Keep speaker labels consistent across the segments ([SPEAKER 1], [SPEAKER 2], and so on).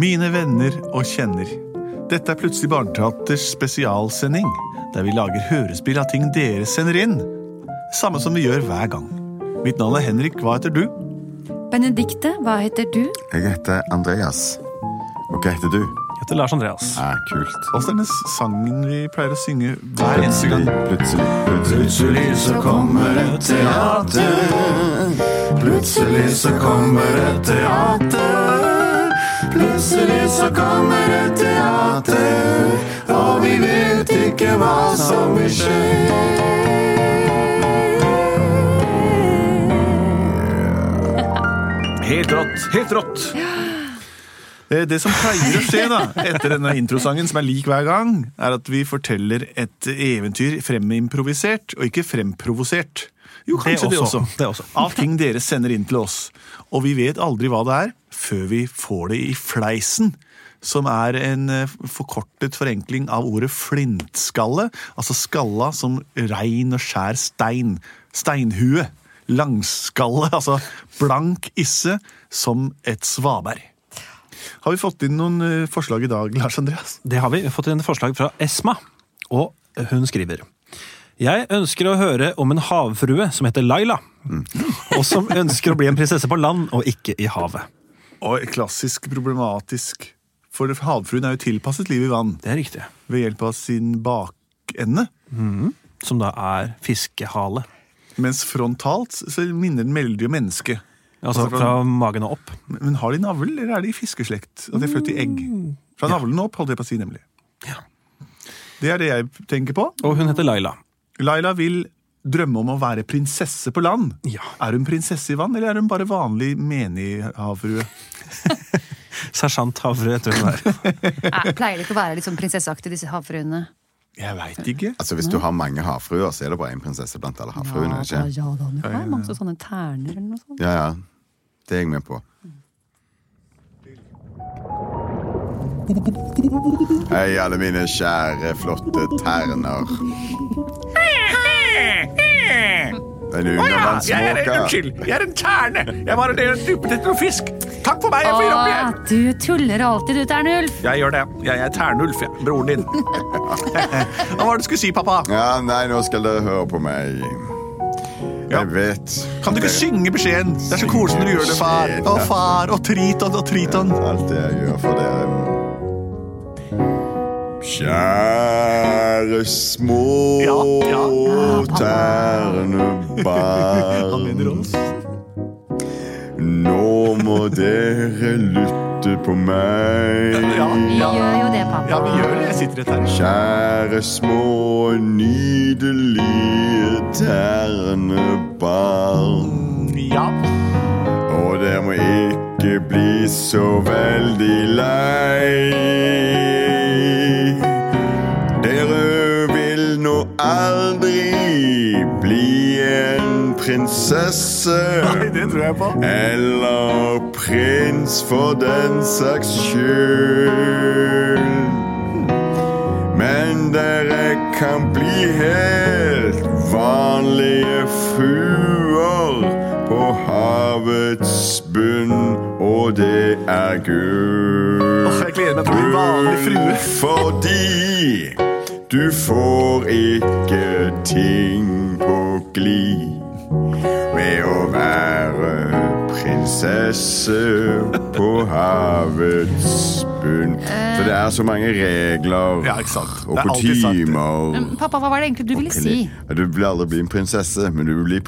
[SPEAKER 1] Mine venner og kjenner. Dette er Plutselig barneteaters spesialsending, der vi lager hørespill av ting dere sender inn. Samme som vi gjør hver gang. Mitt navn er Henrik, hva heter du?
[SPEAKER 2] Benedikte, hva heter du?
[SPEAKER 3] Jeg heter Andreas. Og hva heter du?
[SPEAKER 4] heter Lars Andreas.
[SPEAKER 3] Ah, kult.
[SPEAKER 1] Altså denne sangen vi pleier å synge hver eneste gang.
[SPEAKER 3] plutselig, plutselig, plutselig så kommer et teater. Plutselig så kommer et teater. Plutselig så kommer et teater, og vi vet ikke hva som vil skje.
[SPEAKER 1] Helt rått. Helt rått. Eh, Det som pleier å skje da, etter denne introsangen, som er lik hver gang, er at vi forteller et eventyr fremimprovisert, og ikke fremprovosert. Jo, kanskje det også.
[SPEAKER 4] Det også.
[SPEAKER 1] Av ting dere sender inn til oss. Og vi vet aldri hva det er, før vi får det i fleisen. Som er en eh, forkortet forenkling av ordet flintskalle. Altså skalla som rein og skjær stein. Steinhue. Langskalle, altså blank isse som et svaberg. Har vi fått inn noen eh, forslag i dag, Lars Andreas?
[SPEAKER 4] Det har vi fått inn forslag fra Esma, og hun skriver Jeg ønsker å høre om en havfrue som heter Laila, og som ønsker å bli en prinsesse på land og ikke i havet.
[SPEAKER 1] Og klassisk problematisk. For havfruen er jo tilpasset livet i vann
[SPEAKER 4] Det er riktig.
[SPEAKER 1] ved hjelp av sin bakende.
[SPEAKER 4] Som da er fiskehale.
[SPEAKER 1] Mens frontalt så minner den veldig om menneske.
[SPEAKER 4] Altså fra magen og opp.
[SPEAKER 1] Men men har de navl, eller er de i fiskeslekt? At de er født i egg? Fra navlen og opp, holdt jeg på å si, nemlig.
[SPEAKER 4] Ja.
[SPEAKER 1] Det er det jeg tenker på.
[SPEAKER 4] Og hun heter Laila.
[SPEAKER 1] Laila vil drømme om å være prinsesse på land.
[SPEAKER 4] Ja.
[SPEAKER 1] Er hun prinsesse i vann, eller er hun bare vanlig menig havfrue?
[SPEAKER 4] Sersjant havfrue, tror jeg hun er.
[SPEAKER 2] Eh, Pleier det ikke å være litt sånn prinsesseaktig, disse havfruene?
[SPEAKER 1] Jeg veit ikke.
[SPEAKER 3] Altså, Hvis du har mange havfruer, så er det bare en prinsesse blant alle havfruene.
[SPEAKER 2] ja,
[SPEAKER 3] ikke?
[SPEAKER 2] da, ja da, du har masse sånne terner eller noe sånt.
[SPEAKER 3] Ja, ja. Det er jeg med på. Hei, alle mine kjære, flotte terner. En undervannsmåke.
[SPEAKER 1] Jeg er en terne! Jeg var en duppet etter noe fisk. Takk for meg,
[SPEAKER 2] Å, du tuller alltid, du, Ternulf!
[SPEAKER 1] Jeg gjør det. Jeg er Ternulf, jeg. broren din. Hva var det du skulle si, pappa?
[SPEAKER 3] Ja, nei, nå skal dere høre på meg.
[SPEAKER 1] Ja.
[SPEAKER 3] Jeg vet
[SPEAKER 1] Kan du ikke Eh, synge beskjeden? Det er så koselig når du gjør det, far. Å, far, og Triton, og Triton.
[SPEAKER 3] alt det jeg gjør for dere. Kjære små
[SPEAKER 1] Ja, ja. Han
[SPEAKER 3] ternebarn.
[SPEAKER 1] mener oss.
[SPEAKER 3] Nå må dere lytte på
[SPEAKER 1] Ja,
[SPEAKER 3] meg.
[SPEAKER 2] Vi
[SPEAKER 1] ja,
[SPEAKER 2] gjør jo det, pappa.
[SPEAKER 1] ja, vi gjør det. Jeg sitter rett her.
[SPEAKER 3] Kjære små nydelige ternebarn.
[SPEAKER 1] Ja.
[SPEAKER 3] Og dere må ikke bli så veldig lei. Dere vil nå aldri bli en prinsesse.
[SPEAKER 1] Det tror jeg på.
[SPEAKER 3] Eller prins for den saks skyld. Men dere kan bli helt vanlige fruer på havets bunn, og det er gull.
[SPEAKER 1] Jeg gleder meg til å bli vanlig frue.
[SPEAKER 3] Fordi du får ikke ting på glid ved å være prinsesse på havets bunn. For det er så mange regler
[SPEAKER 1] Ja, ikke sant.
[SPEAKER 3] og
[SPEAKER 1] Det er alltid sagt det.
[SPEAKER 3] kutymer.
[SPEAKER 2] Men Pappa, hva var det egentlig du ville si?
[SPEAKER 3] Ja, Du vil aldri bli en prinsesse, men du vil bli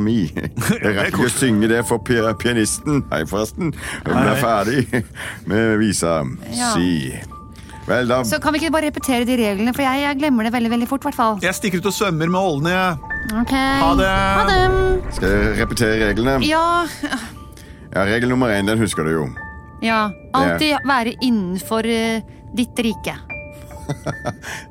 [SPEAKER 3] mi. Jeg rakk ikke å synge det for pi- pianisten. Hei, forresten. Hun er ferdig med visa
[SPEAKER 2] Ja.
[SPEAKER 3] si. Vel, da
[SPEAKER 2] Så kan vi ikke bare repetere de reglene, for jeg, jeg glemmer det veldig veldig fort. Hvertfall.
[SPEAKER 1] Jeg stikker ut og svømmer med ålene. jeg.
[SPEAKER 2] Ok.
[SPEAKER 1] Ha det.
[SPEAKER 2] Ha det.
[SPEAKER 3] skal jeg repetere reglene.
[SPEAKER 2] Ja,
[SPEAKER 3] Ja, Regel nummer én, den husker du jo.
[SPEAKER 2] ja. Alltid være innenfor eh, ditt rike.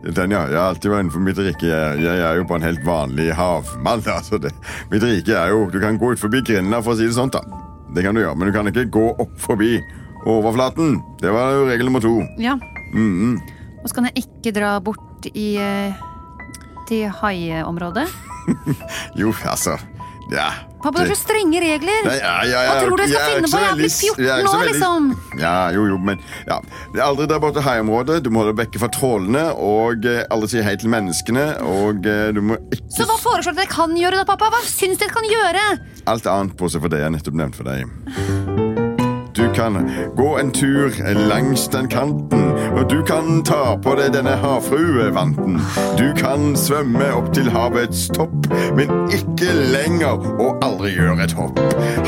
[SPEAKER 3] Den, ja. Jeg har alltid vært innenfor mitt rike. Jeg, jeg er jo på en helt vanlig havmann. Altså det. Mitt rike er jo Du kan gå ut forbi grindene, for å si det sånn, da. Det kan du gjøre, men du kan ikke gå opp forbi overflaten. Det var jo regel nummer to.
[SPEAKER 2] Ja.
[SPEAKER 3] Mm-hmm.
[SPEAKER 2] Og så kan jeg ikke dra bort i eh, til haiområdet.
[SPEAKER 3] Jo, altså Ja.
[SPEAKER 2] Pappa, du har
[SPEAKER 3] det-
[SPEAKER 2] så strenge regler!
[SPEAKER 3] Nei, ja, ja, ja,
[SPEAKER 2] Hva tror du jeg skal
[SPEAKER 3] er
[SPEAKER 2] finne
[SPEAKER 3] ikke
[SPEAKER 2] på?
[SPEAKER 3] så
[SPEAKER 2] Jeg blir
[SPEAKER 3] veldig-
[SPEAKER 2] 14
[SPEAKER 3] jeg er ikke så
[SPEAKER 2] år,
[SPEAKER 3] veldig-
[SPEAKER 2] liksom!
[SPEAKER 3] Ja, jo, jo, men ja. Det er Aldri der borte haiområdet. Du må holde vekke fra trålene, og eh, aldri si hei til menneskene, og eh, du må ikke
[SPEAKER 2] Så hva foreslår du at jeg kan gjøre da, pappa? Hva syns du jeg kan gjøre?
[SPEAKER 3] Alt annet bortsett fra det jeg nettopp nevnte for deg. Du kan gå en tur langs den kanten, og du kan ta på deg denne havfruevanten. Du kan svømme opp til havets topp, men ikke lenger og aldri gjøre et hopp.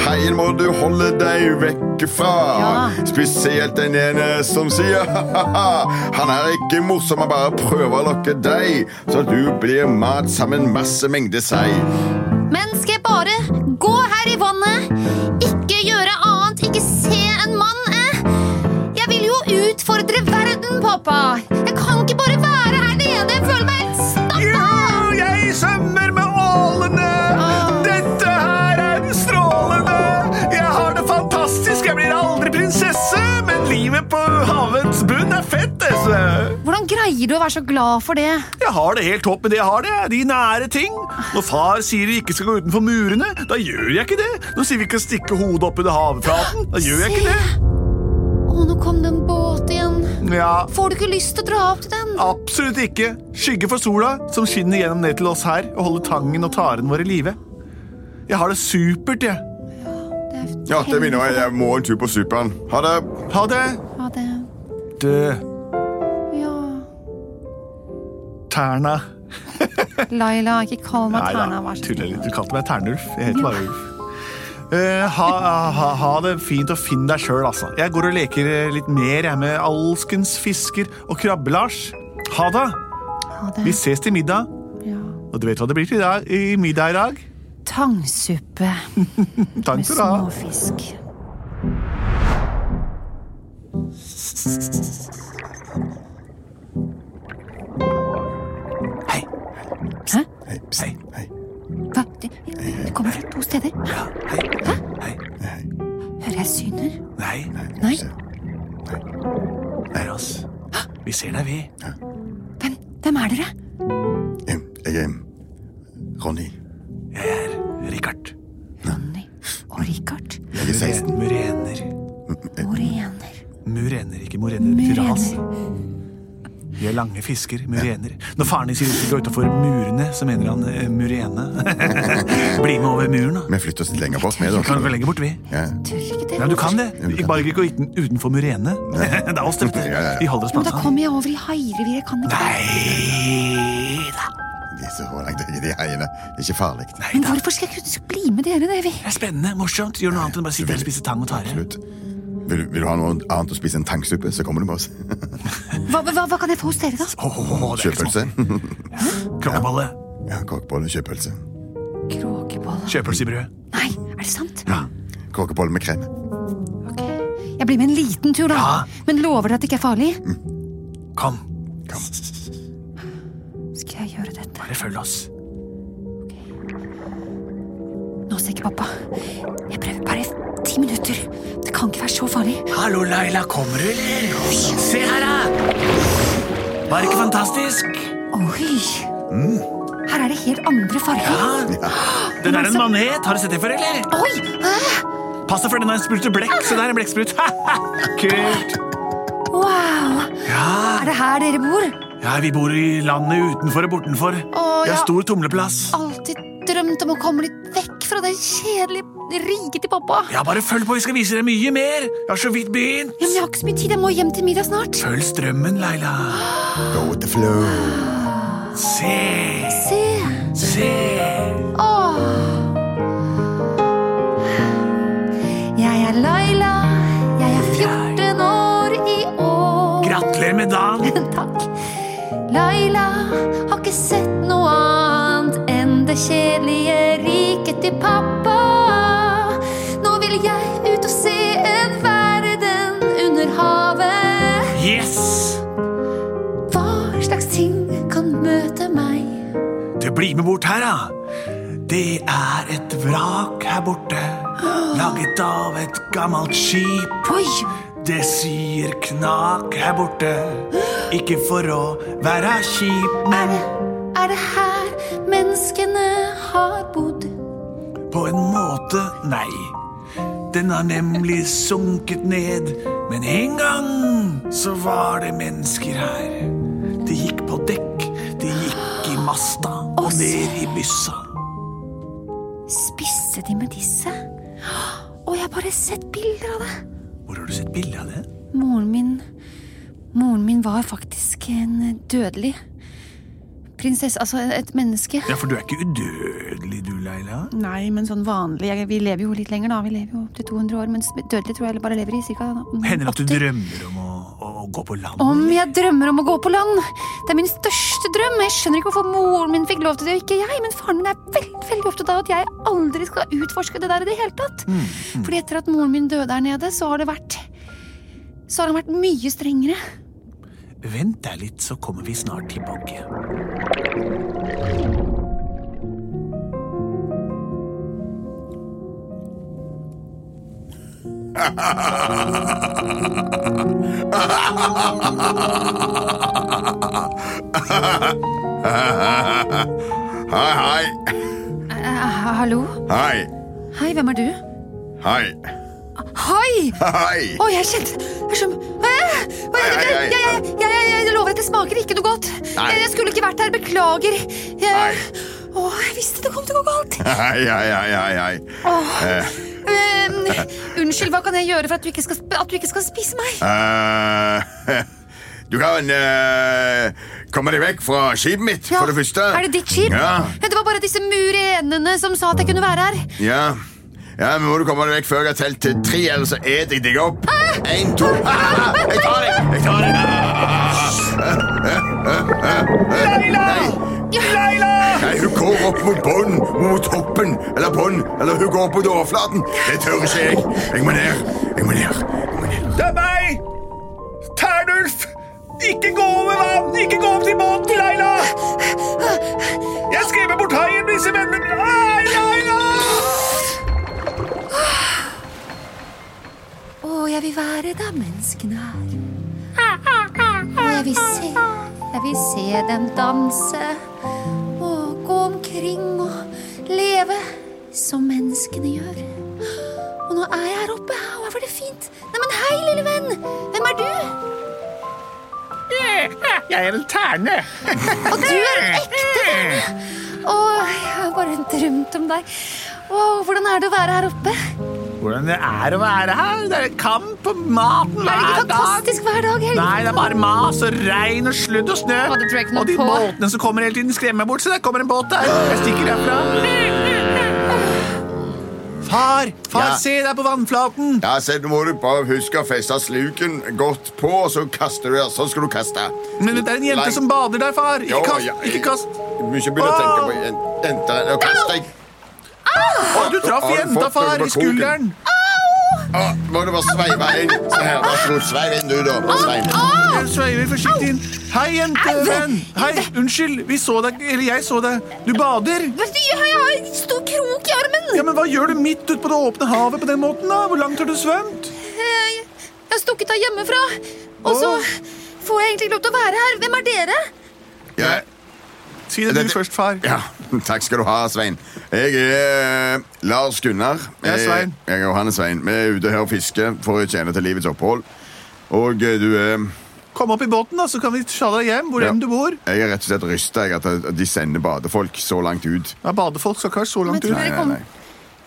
[SPEAKER 3] Haien må du holde deg vekk fra,
[SPEAKER 2] Ja.
[SPEAKER 3] spesielt den ene som sier ha-ha-ha. Han er ikke morsom, han bare prøver å lokke deg, så du blir mat sammen masse mengde sei.
[SPEAKER 2] Men skal jeg bare gå her i vannet? Ikke gjøre annet, ikke se en mann, eh? Jeg vil jo utfordre verden, pappa! Jeg kan ikke bare være her nede, jeg føler meg helt stappa!
[SPEAKER 1] Jeg svømmer med ålene. Dette her er strålende. Jeg har det fantastisk. Jeg blir aldri prinsesse, men livet på havets bunn er fett. altså.
[SPEAKER 2] Hvordan greier du å være så glad for det?
[SPEAKER 1] Jeg har det helt topp med det jeg har, det. de nære ting. Når far sier vi ikke skal gå utenfor murene, da gjør jeg ikke det. Nå sier vi ikke stikke hodet opp under havflaten, da gjør jeg ikke det.
[SPEAKER 2] Å, nå kom det en båt igjen.
[SPEAKER 1] Ja,
[SPEAKER 2] Får du ikke lyst til å dra opp til den?
[SPEAKER 1] absolutt ikke. Skygge for sola, som skinner gjennom ned til oss her og holder tangen og taren vår i live. Jeg har det supert, jeg.
[SPEAKER 3] Ja, det minner meg. Jeg må en tur på Superen. Ha det!
[SPEAKER 1] Ha det.
[SPEAKER 2] Ja, det
[SPEAKER 1] Død.
[SPEAKER 2] Ja.
[SPEAKER 1] Terna.
[SPEAKER 2] Laila, ikke kall meg
[SPEAKER 1] Nei da,
[SPEAKER 2] Terna, vær så snill.
[SPEAKER 1] tuller litt. Du kalte meg Ternulf. Jeg heter bare Ulf. Eh, ha, ha, ha det fint og finn deg sjøl, altså. Jeg går og leker eh, litt mer jeg, med alskens fisker og krabbe-Lars. Ha det!
[SPEAKER 2] Ha det.
[SPEAKER 1] Vi ses til middag.
[SPEAKER 2] Ja.
[SPEAKER 1] Og du vet hva det blir til i dag, i middag i dag?
[SPEAKER 2] Tangsuppe
[SPEAKER 1] Takk
[SPEAKER 2] med
[SPEAKER 1] skal du ha.
[SPEAKER 2] småfisk.
[SPEAKER 1] Hei.
[SPEAKER 2] Hæ?
[SPEAKER 3] Hei, pst.
[SPEAKER 1] Hei.
[SPEAKER 3] Hei.
[SPEAKER 2] Hva? Det, det kommer fra to steder.
[SPEAKER 1] Ja, hei. Hei.
[SPEAKER 2] Hører jeg syner?
[SPEAKER 1] Nei,
[SPEAKER 2] Nei,
[SPEAKER 1] det er oss. altså, Vi ser deg, vi.
[SPEAKER 2] hvem, hvem er dere?
[SPEAKER 3] Em, Jeg er Ronny.
[SPEAKER 1] Jeg er Richard.
[SPEAKER 2] Ronny og Richard.
[SPEAKER 3] Jeg er 16.
[SPEAKER 1] Murener.
[SPEAKER 2] Morener.
[SPEAKER 1] Murener, ikke morener.
[SPEAKER 2] Murener.
[SPEAKER 1] Ras. Vi er lange fisker, murener. Når faren din sier vi skal gå utafor murene, så mener han eh, murene. Bli med over muren, da.
[SPEAKER 3] Vi flytter oss litt lenger bort. Med,
[SPEAKER 1] Vi kan gå
[SPEAKER 3] da.
[SPEAKER 1] lenger bort, vi.
[SPEAKER 3] Ja.
[SPEAKER 2] Tør ikke det.
[SPEAKER 1] Nei, du kan det.
[SPEAKER 3] Ja, du kan
[SPEAKER 1] Bare ikke gå uten- utenfor murene. Det er oss, dette.
[SPEAKER 3] Ja, ja, ja.
[SPEAKER 1] Vi holder oss
[SPEAKER 2] Jo, men da
[SPEAKER 1] plansa.
[SPEAKER 2] kommer jeg over i haireviret. Jeg kan ikke
[SPEAKER 1] Nei da.
[SPEAKER 3] De er så langt i de heiene. Det er ikke farlig.
[SPEAKER 1] Nei
[SPEAKER 2] Men
[SPEAKER 1] da.
[SPEAKER 2] hvorfor skal jeg kunne bli med dere? Det er vi.
[SPEAKER 1] Det er spennende, morsomt. Gjør noe annet enn bare sitte her og spise tang og tare.
[SPEAKER 3] Absolutt. Vil, vil du ha noe annet å spise enn tangsuppe, så kommer du med oss.
[SPEAKER 2] Hva, hva, hva kan jeg få hos dere, da?
[SPEAKER 1] Åh, åh, åh, det er ikke sånn.
[SPEAKER 3] Kjøpølse.
[SPEAKER 1] smått. Krokkebolle.
[SPEAKER 3] Ja, Kokebolle og kjøpølse.
[SPEAKER 2] Kråkebolle.
[SPEAKER 1] Kjøpølse i brød.
[SPEAKER 2] Nei, er det sant?
[SPEAKER 3] Kokebolle med krem.
[SPEAKER 2] Ok. Jeg blir med en liten tur, da.
[SPEAKER 1] Ja. Mm.
[SPEAKER 2] Men lover dere at det ikke er farlig?
[SPEAKER 1] Kom,
[SPEAKER 2] Skal jeg gjøre dette?
[SPEAKER 1] bare følg oss.
[SPEAKER 2] Nå ser ikke pappa. Jeg prøver bare ti minutter. Det kan ikke være så farlig.
[SPEAKER 1] Hallo, Laila. Kommer du, eller? Se her, da! Var det ikke fantastisk?
[SPEAKER 2] Oi! Her er det helt andre farger.
[SPEAKER 1] Mm. Ja. Den er en manet. Har du sett det før, eller?
[SPEAKER 2] Oi! Ah!
[SPEAKER 1] Pass deg for den har en sprut til blekk. Se der, en blekksprut. Kult.
[SPEAKER 2] Wow!
[SPEAKER 1] Ja.
[SPEAKER 2] Er det her dere bor?
[SPEAKER 1] ja, vi bor i landet utenfor og bortenfor.
[SPEAKER 2] Å,
[SPEAKER 1] Det er
[SPEAKER 2] ja.
[SPEAKER 1] stor tumleplass.
[SPEAKER 2] Alltid drømt om å komme litt vekk fra det kjedelige riket til pappa.
[SPEAKER 1] Ja, bare følg på. Vi skal vise deg mye mer. Jeg har så vidt begynt.
[SPEAKER 2] Ja, Men jeg har ikke så mye tid. Jeg må hjem til middag snart.
[SPEAKER 1] Følg strømmen, Laila.
[SPEAKER 3] Go with the flow.
[SPEAKER 1] Se,
[SPEAKER 2] Se!
[SPEAKER 1] se.
[SPEAKER 2] Åh. Jeg er Laila. Jeg er 14 år i år.
[SPEAKER 1] Gratulerer med dagen.
[SPEAKER 2] det kjedelige riket til pappa. Nå vil jeg ut og se en verden under havet.
[SPEAKER 1] Yes!
[SPEAKER 2] Hva slags ting kan møte meg?
[SPEAKER 1] Du, bli med bort her, da. Det er et vrak her borte, laget av et gammelt skip.
[SPEAKER 2] Oi,
[SPEAKER 1] Det sier knak her borte, ikke for å være kjip,
[SPEAKER 2] er
[SPEAKER 1] men
[SPEAKER 2] det, er det her menneskene har bodd?
[SPEAKER 1] på en måte nei. Den har nemlig sunket ned, men en gang så var det mennesker her. De gikk på dekk, de gikk i masta og
[SPEAKER 2] Å, se.
[SPEAKER 1] ned i byssa.
[SPEAKER 2] Spiste de med disse? Å, jeg har bare sett bilder av det.
[SPEAKER 1] Hvor har du sett bilde av det?
[SPEAKER 2] Moren min Moren min var faktisk en dødelig prinsesse. Altså et menneske.
[SPEAKER 1] Ja, for du er ikke udødelig du, Leila.
[SPEAKER 2] Nei, men sånn vanlig. Jeg- Vi lever jo litt lenger, da. Vi lever jo opptil 200 år. Mens dødelige tror jeg bare lever i ca.
[SPEAKER 1] Hender det at du drømmer om å, å, å gå på land?
[SPEAKER 2] Om jeg drømmer om å gå på land! Det er min største drøm! Jeg skjønner ikke hvorfor moren min fikk lov til det, og ikke jeg. Men faren min er veldig veldig opptatt av at jeg aldri skal utforske det der i det hele tatt.
[SPEAKER 1] Mm,
[SPEAKER 2] Fordi etter at moren min døde der nede, så har det vært Så har han vært mye strengere.
[SPEAKER 1] Vent deg litt, så kommer vi snart tilbake.
[SPEAKER 3] Hei, hei.
[SPEAKER 2] Eh, hallo?
[SPEAKER 3] Hei.
[SPEAKER 2] Hei, hvem er du?
[SPEAKER 3] Hei.
[SPEAKER 2] Hei!
[SPEAKER 3] Hei.
[SPEAKER 2] Å, jeg kjente Jeg skjønner Hæ? Hva er det?
[SPEAKER 3] Hei, hei, hei.
[SPEAKER 2] Jeg, jeg, jeg, jeg, jeg lover at det smaker ikke noe godt.
[SPEAKER 3] Nei.
[SPEAKER 2] Jeg, jeg skulle ikke vært her. Beklager.
[SPEAKER 3] Nei.
[SPEAKER 2] Jeg, å, jeg visste det kom til å gå galt.
[SPEAKER 3] Hei, hei, hei, hei, hei.
[SPEAKER 2] Åh.
[SPEAKER 3] Eh,
[SPEAKER 2] Ehm, unnskyld, hva kan jeg gjøre for at du ikke skal, sp- at du ikke skal spise meg?
[SPEAKER 3] eh, du kan eh, komme deg vekk fra skipet mitt,
[SPEAKER 2] Ja,
[SPEAKER 3] for det første.
[SPEAKER 2] Er det ditt skip?
[SPEAKER 3] Ja.
[SPEAKER 2] Det var bare disse murenene som sa at jeg kunne være her.
[SPEAKER 3] Ja. ja, men må du komme deg vekk før jeg har telt til tre, ellers så eter jeg deg opp. Én, to ah, Jeg tar deg! Jeg tar deg! Ah,
[SPEAKER 2] Ja.
[SPEAKER 3] Nei, hun går opp mot bånn, mot toppen, eller bånn, eller hun går opp mot overflaten. Det tør ikke jeg. Jeg må ned. Jeg må ned. Jeg må ned.
[SPEAKER 5] Det er meg! Ternulf! Ikke gå over vann! Ikke gå opp til båten, Leila! Jeg skremmer bort haien, disse vennene Ai, Leila!
[SPEAKER 2] Å, jeg vil være der menneskene er. Å, jeg vil se, jeg vil se dem danse. Å, gå omkring og leve som menneskene gjør. Og nå er jeg her oppe, og her var det fint. Neimen, hei, lille venn. Hvem er du?
[SPEAKER 5] Jeg er en terne.
[SPEAKER 2] Og du er en ekte venn. Å, jeg har bare drømt om deg. Å, hvordan er det å være her oppe?
[SPEAKER 5] Hvordan det er å være her? Det er kamp om maten
[SPEAKER 2] Er det
[SPEAKER 5] hver
[SPEAKER 2] ikke
[SPEAKER 5] dag.
[SPEAKER 2] fantastisk hver dag? Helge?
[SPEAKER 5] Nei, det er bare mas og regn og sludd og snø.
[SPEAKER 2] Og det tror jeg ikke noe
[SPEAKER 5] Og de
[SPEAKER 2] på.
[SPEAKER 5] båtene som kommer hele tiden, skremmer meg bort. Se, der kommer en båt der. Jeg stikker derfra.
[SPEAKER 1] Far, far,
[SPEAKER 3] Ja.
[SPEAKER 1] se deg på vannflaten!
[SPEAKER 3] Ja, så Nå må du bare huske å feste sluken godt på, og så kaster du der. Sånn skal du kaste.
[SPEAKER 1] Men det er en jente
[SPEAKER 3] Nei.
[SPEAKER 1] som bader der, far! Ikke
[SPEAKER 3] Jo,
[SPEAKER 1] kast!
[SPEAKER 3] ja,
[SPEAKER 1] Ikke kast.
[SPEAKER 3] Mye begynner å tenke på jen- jenter. Nå kast deg.
[SPEAKER 1] Å, du traff
[SPEAKER 3] Har du
[SPEAKER 1] jenta,
[SPEAKER 3] fått noe
[SPEAKER 1] far,
[SPEAKER 3] på
[SPEAKER 1] i
[SPEAKER 3] kroken?
[SPEAKER 1] skulderen!
[SPEAKER 3] Å, må du bare sveive inn. Se her, vær så god. Sveiv inn, du, da. Bare
[SPEAKER 2] Ah,
[SPEAKER 3] Sveiv inn.
[SPEAKER 1] Jeg sveiver forsiktig inn. Hei, jentevenn! Hei, unnskyld, vi så deg, eller jeg så deg. Du bader!
[SPEAKER 2] Vet du, Jeg har en stor krok i armen.
[SPEAKER 1] Ja, men hva gjør du midt ute på det åpne havet på den måten, da? Hvor langt har du svømt?
[SPEAKER 2] Eh, Jeg jeg har stukket av hjemmefra. Og så
[SPEAKER 1] Åh.
[SPEAKER 2] får jeg egentlig ikke lov til å være her. Hvem er dere?
[SPEAKER 3] Ja,
[SPEAKER 1] Si det du
[SPEAKER 3] Dette-
[SPEAKER 1] først, far.
[SPEAKER 3] ja. Takk skal du ha, Svein. Jeg er eh, Lars Gunnar.
[SPEAKER 1] Jeg er Svein.
[SPEAKER 3] Jeg er Johannes Svein. Vi er ute her og fisker for å tjene til livets opphold. Og eh, du er
[SPEAKER 1] Kom opp i båten, da, så kan vi ta deg hjem, hvor
[SPEAKER 3] Ja.
[SPEAKER 1] enn du bor.
[SPEAKER 3] Jeg er rett og slett rysta at at de sender badefolk så langt ut.
[SPEAKER 1] Ja, badefolk skal ikke være så langt
[SPEAKER 2] Men-
[SPEAKER 1] ut.
[SPEAKER 2] Dere
[SPEAKER 3] Nei, nei,
[SPEAKER 2] kom-
[SPEAKER 3] nei.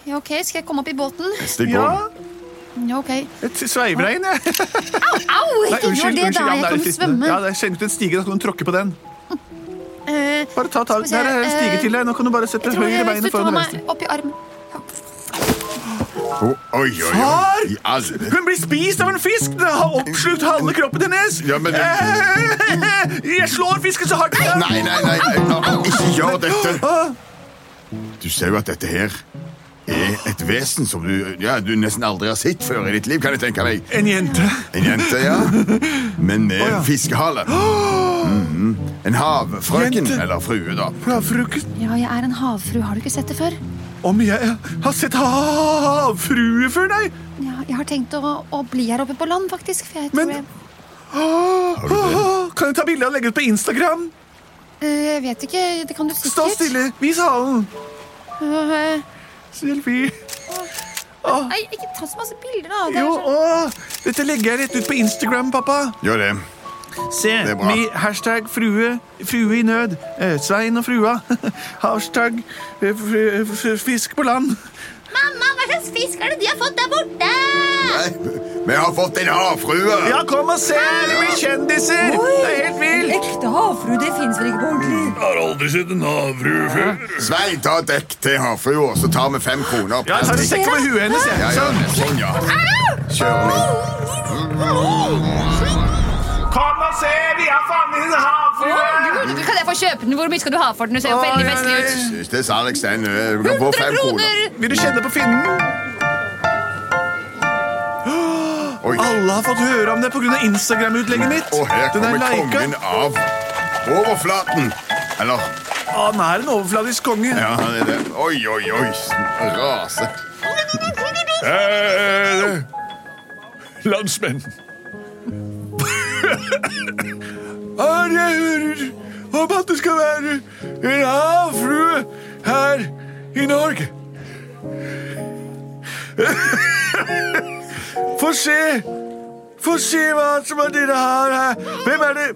[SPEAKER 2] Ja, ok, Skal jeg komme opp i båten?
[SPEAKER 3] Stig
[SPEAKER 1] Ja,
[SPEAKER 3] Boll.
[SPEAKER 2] Ja, ok.
[SPEAKER 1] jeg t- sveiver deg inn, jeg.
[SPEAKER 2] Au!
[SPEAKER 1] Nei,
[SPEAKER 2] Ikke gjør
[SPEAKER 1] unnskyld.
[SPEAKER 2] det
[SPEAKER 1] unnskyld. Ja, det
[SPEAKER 2] da. Jeg
[SPEAKER 1] er
[SPEAKER 2] kan
[SPEAKER 1] litt
[SPEAKER 2] jo
[SPEAKER 1] fristende.
[SPEAKER 2] svømme.
[SPEAKER 1] Ja, det er kjenner ut en stige, så kan du tråkke på den.
[SPEAKER 2] Eh,
[SPEAKER 1] Bare ta tak.
[SPEAKER 2] Skal vi se,
[SPEAKER 1] Der er en stige
[SPEAKER 2] eh,
[SPEAKER 1] til deg. Nå kan du bare
[SPEAKER 2] jeg
[SPEAKER 1] sette
[SPEAKER 2] tror
[SPEAKER 1] høyre
[SPEAKER 2] jeg, hvis
[SPEAKER 1] beinet
[SPEAKER 2] du tar
[SPEAKER 1] foran venstre.
[SPEAKER 2] meg opp i armen
[SPEAKER 3] Å, Oi, oi, oi.
[SPEAKER 1] Far!
[SPEAKER 3] I all-
[SPEAKER 1] Hun blir spist av en fisk! Det har oppslukt halve kroppen hennes!
[SPEAKER 3] Ja, men-
[SPEAKER 1] Eh, Jeg slår fisken så hardt jeg kan!
[SPEAKER 3] Nei, nei, nei. nei, nei, Ikke gjør dette.
[SPEAKER 1] Åh,
[SPEAKER 3] Du ser jo at dette her er et vesen som du, ja, du nesten aldri har sett før i ditt liv, kan jeg tenke meg.
[SPEAKER 6] En jente.
[SPEAKER 3] En jente, ja. Men med fiskehale. Mhm. En havfrøken,
[SPEAKER 6] Jente.
[SPEAKER 3] eller frue, da.
[SPEAKER 6] Havfruken.
[SPEAKER 2] Ja, jeg er en havfru. Har du ikke sett det før?
[SPEAKER 6] Om jeg har sett havfrue før, nei!
[SPEAKER 2] Ja, jeg har tenkt å, å bli her oppe på land, faktisk. For jeg tror
[SPEAKER 6] Men-
[SPEAKER 2] jeg,
[SPEAKER 6] Åh, Ah, Kan jeg ta bilde og legge ut på Instagram?
[SPEAKER 2] Eh, jeg vet ikke. Det kan du sikkert.
[SPEAKER 6] Stå stille, vis halen.
[SPEAKER 2] Eh,
[SPEAKER 6] Selfie.
[SPEAKER 2] nei, ikke ta så masse bilder, da. Det er sånn-
[SPEAKER 6] Jo,
[SPEAKER 2] så...
[SPEAKER 6] åh, dette legger jeg rett ut på Instagram, pappa.
[SPEAKER 3] Gjør det.
[SPEAKER 6] Se,
[SPEAKER 3] er bra.
[SPEAKER 6] mi hashtag frue, frue i nød. Eh, Svein og frua. Hashtag eh, fr- fr- fisk på land.
[SPEAKER 2] Mamma, hva slags fisk er det de har fått der borte?
[SPEAKER 3] Nei, vi har fått en havfrue!
[SPEAKER 6] Ja, kom og se! Det blir kjendiser! Det er helt
[SPEAKER 7] En
[SPEAKER 6] vilt!
[SPEAKER 7] ekte havfrue, det fins vel ikke på ordentlig?
[SPEAKER 1] Har aldri sett en havfrue før.
[SPEAKER 3] Svein, ta dekk til havfrua, så tar vi fem kroner.
[SPEAKER 6] Ja, jeg tar en sekk over huet hennes.
[SPEAKER 3] Ja,
[SPEAKER 6] jeg.
[SPEAKER 3] ja,
[SPEAKER 6] Sånn.
[SPEAKER 3] sånn, ja. Kjør den.
[SPEAKER 6] Kom og se, vi har fanget en havfrue!
[SPEAKER 2] Gud, Kan jeg få kjøpe den? Hvor mye skal du ha for den? Du ser jo
[SPEAKER 6] Å,
[SPEAKER 2] veldig
[SPEAKER 6] ja,
[SPEAKER 2] festlig ut.
[SPEAKER 6] nei.
[SPEAKER 3] Hvis det er Alex, den eh, du kan få
[SPEAKER 2] 100
[SPEAKER 3] fem kroner.
[SPEAKER 2] kroner!
[SPEAKER 6] Vil du kjenne på finnen?
[SPEAKER 3] Oi.
[SPEAKER 6] Alle har fått høre om det pga. Instagram-utlegget mitt.
[SPEAKER 3] Og her
[SPEAKER 6] Den er
[SPEAKER 3] kommer
[SPEAKER 6] lika.
[SPEAKER 3] kongen av overflaten. Eller
[SPEAKER 6] Å, Han Ah, er en overfladisk konge.
[SPEAKER 3] Ja, han er det. Oi, oi, oi. Rase.
[SPEAKER 1] Eh, landsmenn.
[SPEAKER 6] Her jeg hører om at det skal være en havfrue her i Norge. Få se. Få se hva som er dere har her. Hvem er det?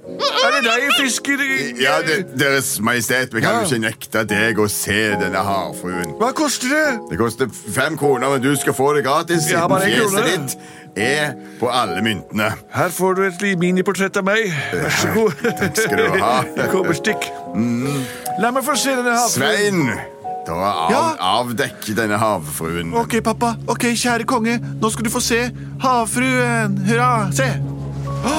[SPEAKER 6] Er det deg, fisker?
[SPEAKER 3] Ja, det, Deres Majestet, vi kan jo ikke nekte deg å se denne havfruen.
[SPEAKER 6] Hva koster det?
[SPEAKER 3] Det koster fem kroner, men du skal få det gratis.
[SPEAKER 6] Ja,
[SPEAKER 3] Siden
[SPEAKER 6] bare en krone.
[SPEAKER 3] fjeset ditt er på alle myntene.
[SPEAKER 6] Her får du et li- miniportrett av meg. Vær så god. Takk
[SPEAKER 3] skal du ha. Mm.
[SPEAKER 6] Kobberstikk. La meg få se denne havfruen.
[SPEAKER 3] Svein, da av,
[SPEAKER 6] Ja.
[SPEAKER 3] avdekk denne havfruen.
[SPEAKER 6] Ok, pappa. Ok, kjære konge. Nå skal du få se havfruen. Hurra. Se.
[SPEAKER 2] Hva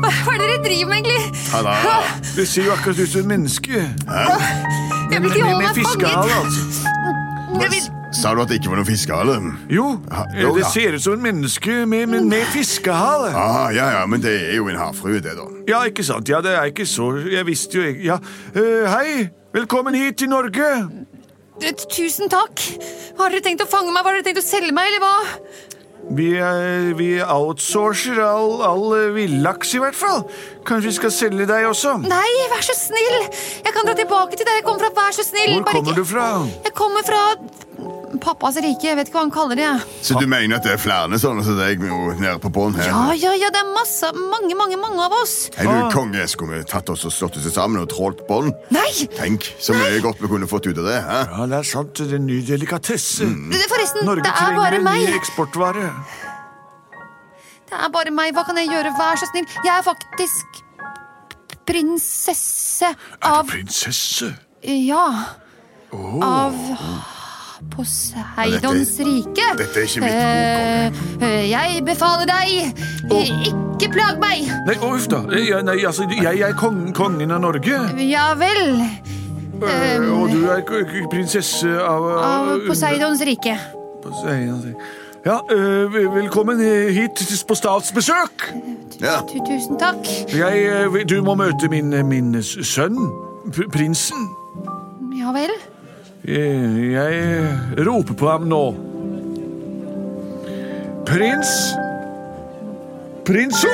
[SPEAKER 2] hva er det dere driver med, egentlig?
[SPEAKER 3] Ta da.
[SPEAKER 6] Det ser jo akkurat ut som et menneske.
[SPEAKER 2] Jeg vil ikke holde meg fanget.
[SPEAKER 6] altså.
[SPEAKER 2] Jeg vil...
[SPEAKER 3] Sa du at det ikke var noen fiskehale?
[SPEAKER 6] Jo,
[SPEAKER 3] Ha- jo,
[SPEAKER 6] det
[SPEAKER 3] ja.
[SPEAKER 6] ser ut som et menneske med, med, med fiskehale.
[SPEAKER 3] Ah, ja, ja, men det er jo en havfrue, det, da.
[SPEAKER 6] Ja, ikke sant. Ja, det er ikke så Jeg visste jo ikke Ja. Eh, hei! Velkommen hit til Norge.
[SPEAKER 2] Eh, Tusen takk. Har dere tenkt å fange meg? Har dere tenkt å selge meg, eller hva?
[SPEAKER 6] Vi, eh, vi outsourcer all, all eh, villaks, i hvert fall. Kanskje vi skal selge deg også?
[SPEAKER 2] Nei, vær så snill! Jeg kan dra tilbake til der jeg kom fra, vær så snill!
[SPEAKER 6] Hvor
[SPEAKER 2] Bare
[SPEAKER 6] kommer
[SPEAKER 2] ikke-
[SPEAKER 6] du fra?
[SPEAKER 2] Jeg kommer fra pappas rike, jeg vet ikke hva han kaller det. jeg.
[SPEAKER 3] Så du mener at det er flere sånne som deg jo nede på bånn her?
[SPEAKER 2] Ja, ja, ja, det er masse, mange, mange, mange av oss.
[SPEAKER 3] Er du konge? Skulle vi tatt oss og slått oss sammen og trålt bånd?
[SPEAKER 2] Nei!
[SPEAKER 3] Tenk så mye godt vi kunne fått ut av det. Hæ?
[SPEAKER 6] Ja, det er sant. Det er en ny delikatesse.
[SPEAKER 2] Det- Forresten,
[SPEAKER 6] Norge
[SPEAKER 2] det er
[SPEAKER 6] trenger
[SPEAKER 2] bare
[SPEAKER 6] en ny
[SPEAKER 2] meg.
[SPEAKER 6] eksportvare.
[SPEAKER 2] Det er bare meg. Hva kan jeg gjøre? Vær så snill. Jeg er faktisk prinsesse
[SPEAKER 6] Er
[SPEAKER 2] av
[SPEAKER 6] du prinsesse?
[SPEAKER 2] Ja. Av
[SPEAKER 3] Ja,
[SPEAKER 2] Poseidons
[SPEAKER 3] dette-
[SPEAKER 2] rike.
[SPEAKER 3] dette er ikke mitt
[SPEAKER 2] Eh, eh, Jeg befaler deg, ikke plag meg!
[SPEAKER 6] Nei, å, uff da. Ja, nei, altså, jeg er kongen, kongen av Norge.
[SPEAKER 2] Ja vel.
[SPEAKER 6] Eh,
[SPEAKER 2] Eh,
[SPEAKER 6] og du er k- k- prinsesse av, um,
[SPEAKER 2] Av Poseidons rike.
[SPEAKER 6] Poseidon. altså. Ja, eh, vel- velkommen eh, hit til- på statsbesøk.
[SPEAKER 3] Ja.
[SPEAKER 2] Tu- Tusen takk.
[SPEAKER 6] Jeg, eh, vil- du må møte min, eh, min s- sønn, pr- prinsen.
[SPEAKER 2] Ja vel.
[SPEAKER 6] Eh, Jeg eh, roper på ham nå. Prins Prinso!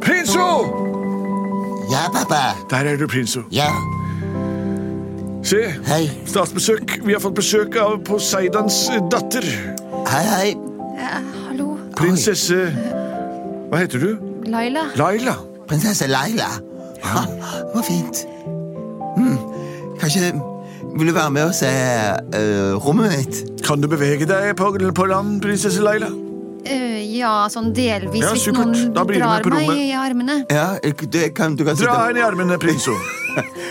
[SPEAKER 6] Prinso!
[SPEAKER 8] Ja, pappa.
[SPEAKER 6] Der er du, Prinso.
[SPEAKER 8] Ja,
[SPEAKER 6] Se,
[SPEAKER 8] hei.
[SPEAKER 6] statsbesøk. Vi har fått besøk av Poseidons eh, datter.
[SPEAKER 8] Hei, hei.
[SPEAKER 2] Hallo,
[SPEAKER 6] Prinsesse Hva heter du?
[SPEAKER 2] Laila.
[SPEAKER 6] Laila.
[SPEAKER 8] Prinsesse Laila. Ha, det var fint. Mm. Kanskje vil du være med og se eh, rommet mitt?
[SPEAKER 6] Kan du bevege deg på, på land, prinsesse Laila?
[SPEAKER 2] Eh, ja, sånn delvis.
[SPEAKER 6] Ja,
[SPEAKER 2] hvis
[SPEAKER 6] supert.
[SPEAKER 2] noen
[SPEAKER 6] Da blir det med
[SPEAKER 2] drar
[SPEAKER 6] på
[SPEAKER 2] meg
[SPEAKER 6] rommet.
[SPEAKER 2] i armene.
[SPEAKER 8] Ja, du kan, du
[SPEAKER 6] Dra
[SPEAKER 8] kan sitte
[SPEAKER 6] henne i armene, prinso.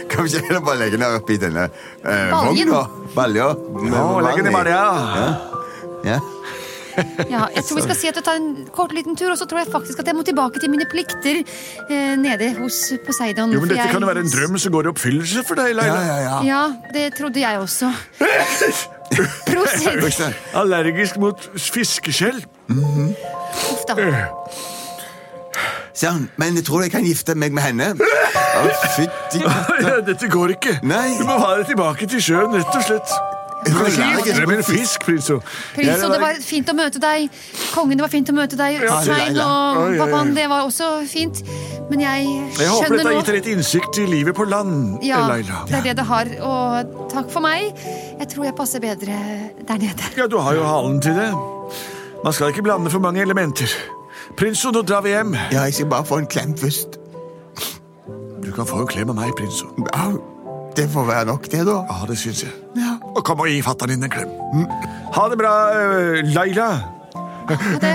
[SPEAKER 3] Kan vi ikke heller bare legge ned oppi denne eh,
[SPEAKER 2] Baljen.
[SPEAKER 3] vogna? Balja.
[SPEAKER 6] Å, legg henne i balja.
[SPEAKER 8] Ja.
[SPEAKER 2] Ja, jeg tror vi skal si at jeg tar en kort liten tur, og så tror jeg faktisk at jeg må tilbake til mine plikter eh, nede hos Poseidon.
[SPEAKER 6] Jo, men
[SPEAKER 2] for
[SPEAKER 6] Dette
[SPEAKER 2] jeg-
[SPEAKER 6] kan jo være en drøm som går i oppfyllelse for deg,
[SPEAKER 8] Ja,
[SPEAKER 6] Laila.
[SPEAKER 8] ja, ja.
[SPEAKER 2] Ja, det trodde jeg også. Prosit!
[SPEAKER 8] Øystein,
[SPEAKER 6] Allergisk mot fiskeskjell.
[SPEAKER 2] Uff da.
[SPEAKER 8] Sier han, men jeg tror jeg kan gifte meg med henne. Å, fytti
[SPEAKER 6] Ja, Dette går ikke.
[SPEAKER 8] Nei.
[SPEAKER 6] Du må ha deg tilbake til sjøen, rett og slett. Du kan ikke
[SPEAKER 8] Allergisk
[SPEAKER 6] gifte deg med
[SPEAKER 8] mot
[SPEAKER 6] en fisk, Prinso. Jeg
[SPEAKER 2] Prinso,
[SPEAKER 6] er
[SPEAKER 2] det var fint å møte deg. Kongen, det var fint å møte deg.
[SPEAKER 8] Ja,
[SPEAKER 2] Svein
[SPEAKER 8] Leila.
[SPEAKER 2] og
[SPEAKER 6] Oi, oi, oi.
[SPEAKER 2] pappaen, det var også fint. Men jeg
[SPEAKER 6] Jeg håper
[SPEAKER 2] skjønner
[SPEAKER 6] dette har gitt
[SPEAKER 2] nå
[SPEAKER 6] deg litt innsikt i livet på land,
[SPEAKER 2] ja,
[SPEAKER 6] Laila.
[SPEAKER 2] det er det det har. Og takk for meg. Jeg tror jeg passer bedre der nede.
[SPEAKER 6] Ja, du har jo halen til det. Man skal ikke blande for mange elementer. Prinso, nå drar vi hjem.
[SPEAKER 8] Ja, jeg skal bare få en klem først.
[SPEAKER 6] Du kan få en klem av meg, Prinso.
[SPEAKER 8] Au, det får være nok, det, da.
[SPEAKER 6] Ja, det syns jeg.
[SPEAKER 8] Ja.
[SPEAKER 6] Og kom og gi fatter'n din en klem. Ha det bra, eh, Laila.
[SPEAKER 2] Ha det.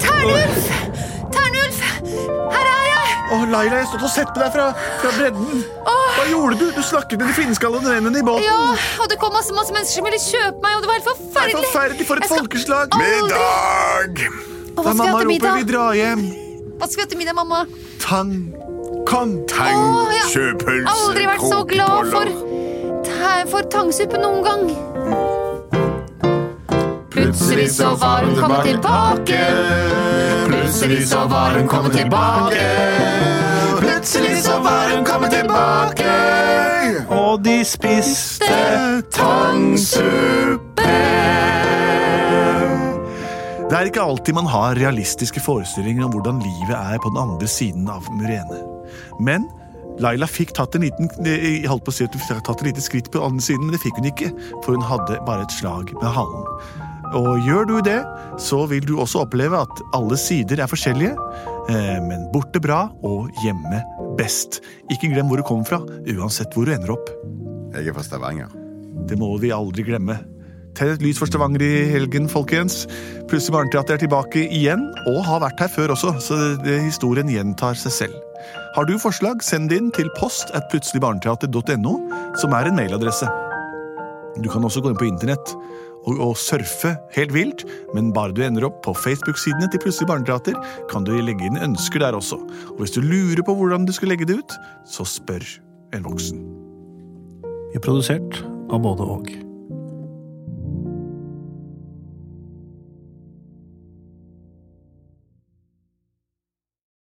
[SPEAKER 2] Ternulf! Ternulf! Her er jeg!
[SPEAKER 6] Å, Laila, jeg stod og sett på deg fra, fra bredden. Hva gjorde du? Du snakket med de finskallede vennene i båten.
[SPEAKER 2] Ja, og det kom masse, masse mennesker som ville kjøpe meg, og det var helt
[SPEAKER 6] Det er
[SPEAKER 2] forferdelig.
[SPEAKER 6] forferdelig for et
[SPEAKER 2] Jeg skal
[SPEAKER 6] folkeslag.
[SPEAKER 2] aldri-
[SPEAKER 3] Middag!
[SPEAKER 2] Og
[SPEAKER 6] Da
[SPEAKER 2] hva skal jeg ha
[SPEAKER 6] mamma
[SPEAKER 2] til
[SPEAKER 6] roper vi
[SPEAKER 2] middag?
[SPEAKER 6] drar hjem.
[SPEAKER 2] Hva skal jeg ha til middag, mamma?
[SPEAKER 6] Tang. Kom.
[SPEAKER 3] Tang,
[SPEAKER 2] Å, jeg har
[SPEAKER 3] sjøpølse,
[SPEAKER 2] Aldri vært så glad for,
[SPEAKER 3] krokeboller.
[SPEAKER 2] tæ- for tangsuppe noen gang. Plutselig så var hun kommet tilbake. Plutselig så var hun kommet tilbake.
[SPEAKER 3] Plutselig så var hun kommet tilbake.
[SPEAKER 4] Og de spiste
[SPEAKER 3] Tangsuppe.
[SPEAKER 1] Det er ikke alltid man har realistiske forestillinger om hvordan livet er på den andre siden av Murene. Men Laila fikk tatt en liten, eh, jeg holdt på å si at hun fikk tatt et lite skritt på den andre siden, men det fikk hun ikke, for hun hadde bare et slag med halen. Og gjør du det, så vil du også oppleve at alle sider er forskjellige, eh, men borte bra og hjemme best. Ikke glem hvor du kommer fra, uansett hvor du ender opp.
[SPEAKER 3] Jeg er fra Stavanger.
[SPEAKER 1] Det må vi aldri glemme. Tenn et lys for Stavanger i helgen, folkens. Plutselig Barneteater er tilbake igjen, og har vært her før også, så det- det, historien gjentar seg selv. Har du forslag, send det inn til post at plutseligbarneteater.no, som er en mailadresse. Du kan også gå inn på internett og, og surfe helt vilt, men bare du ender opp på Facebook-sidene til Plutselig barneteater, kan du legge inn ønsker der også. Og hvis du lurer på hvordan du skal legge det ut, så spør en voksen.
[SPEAKER 4] Vi er produsert av både og.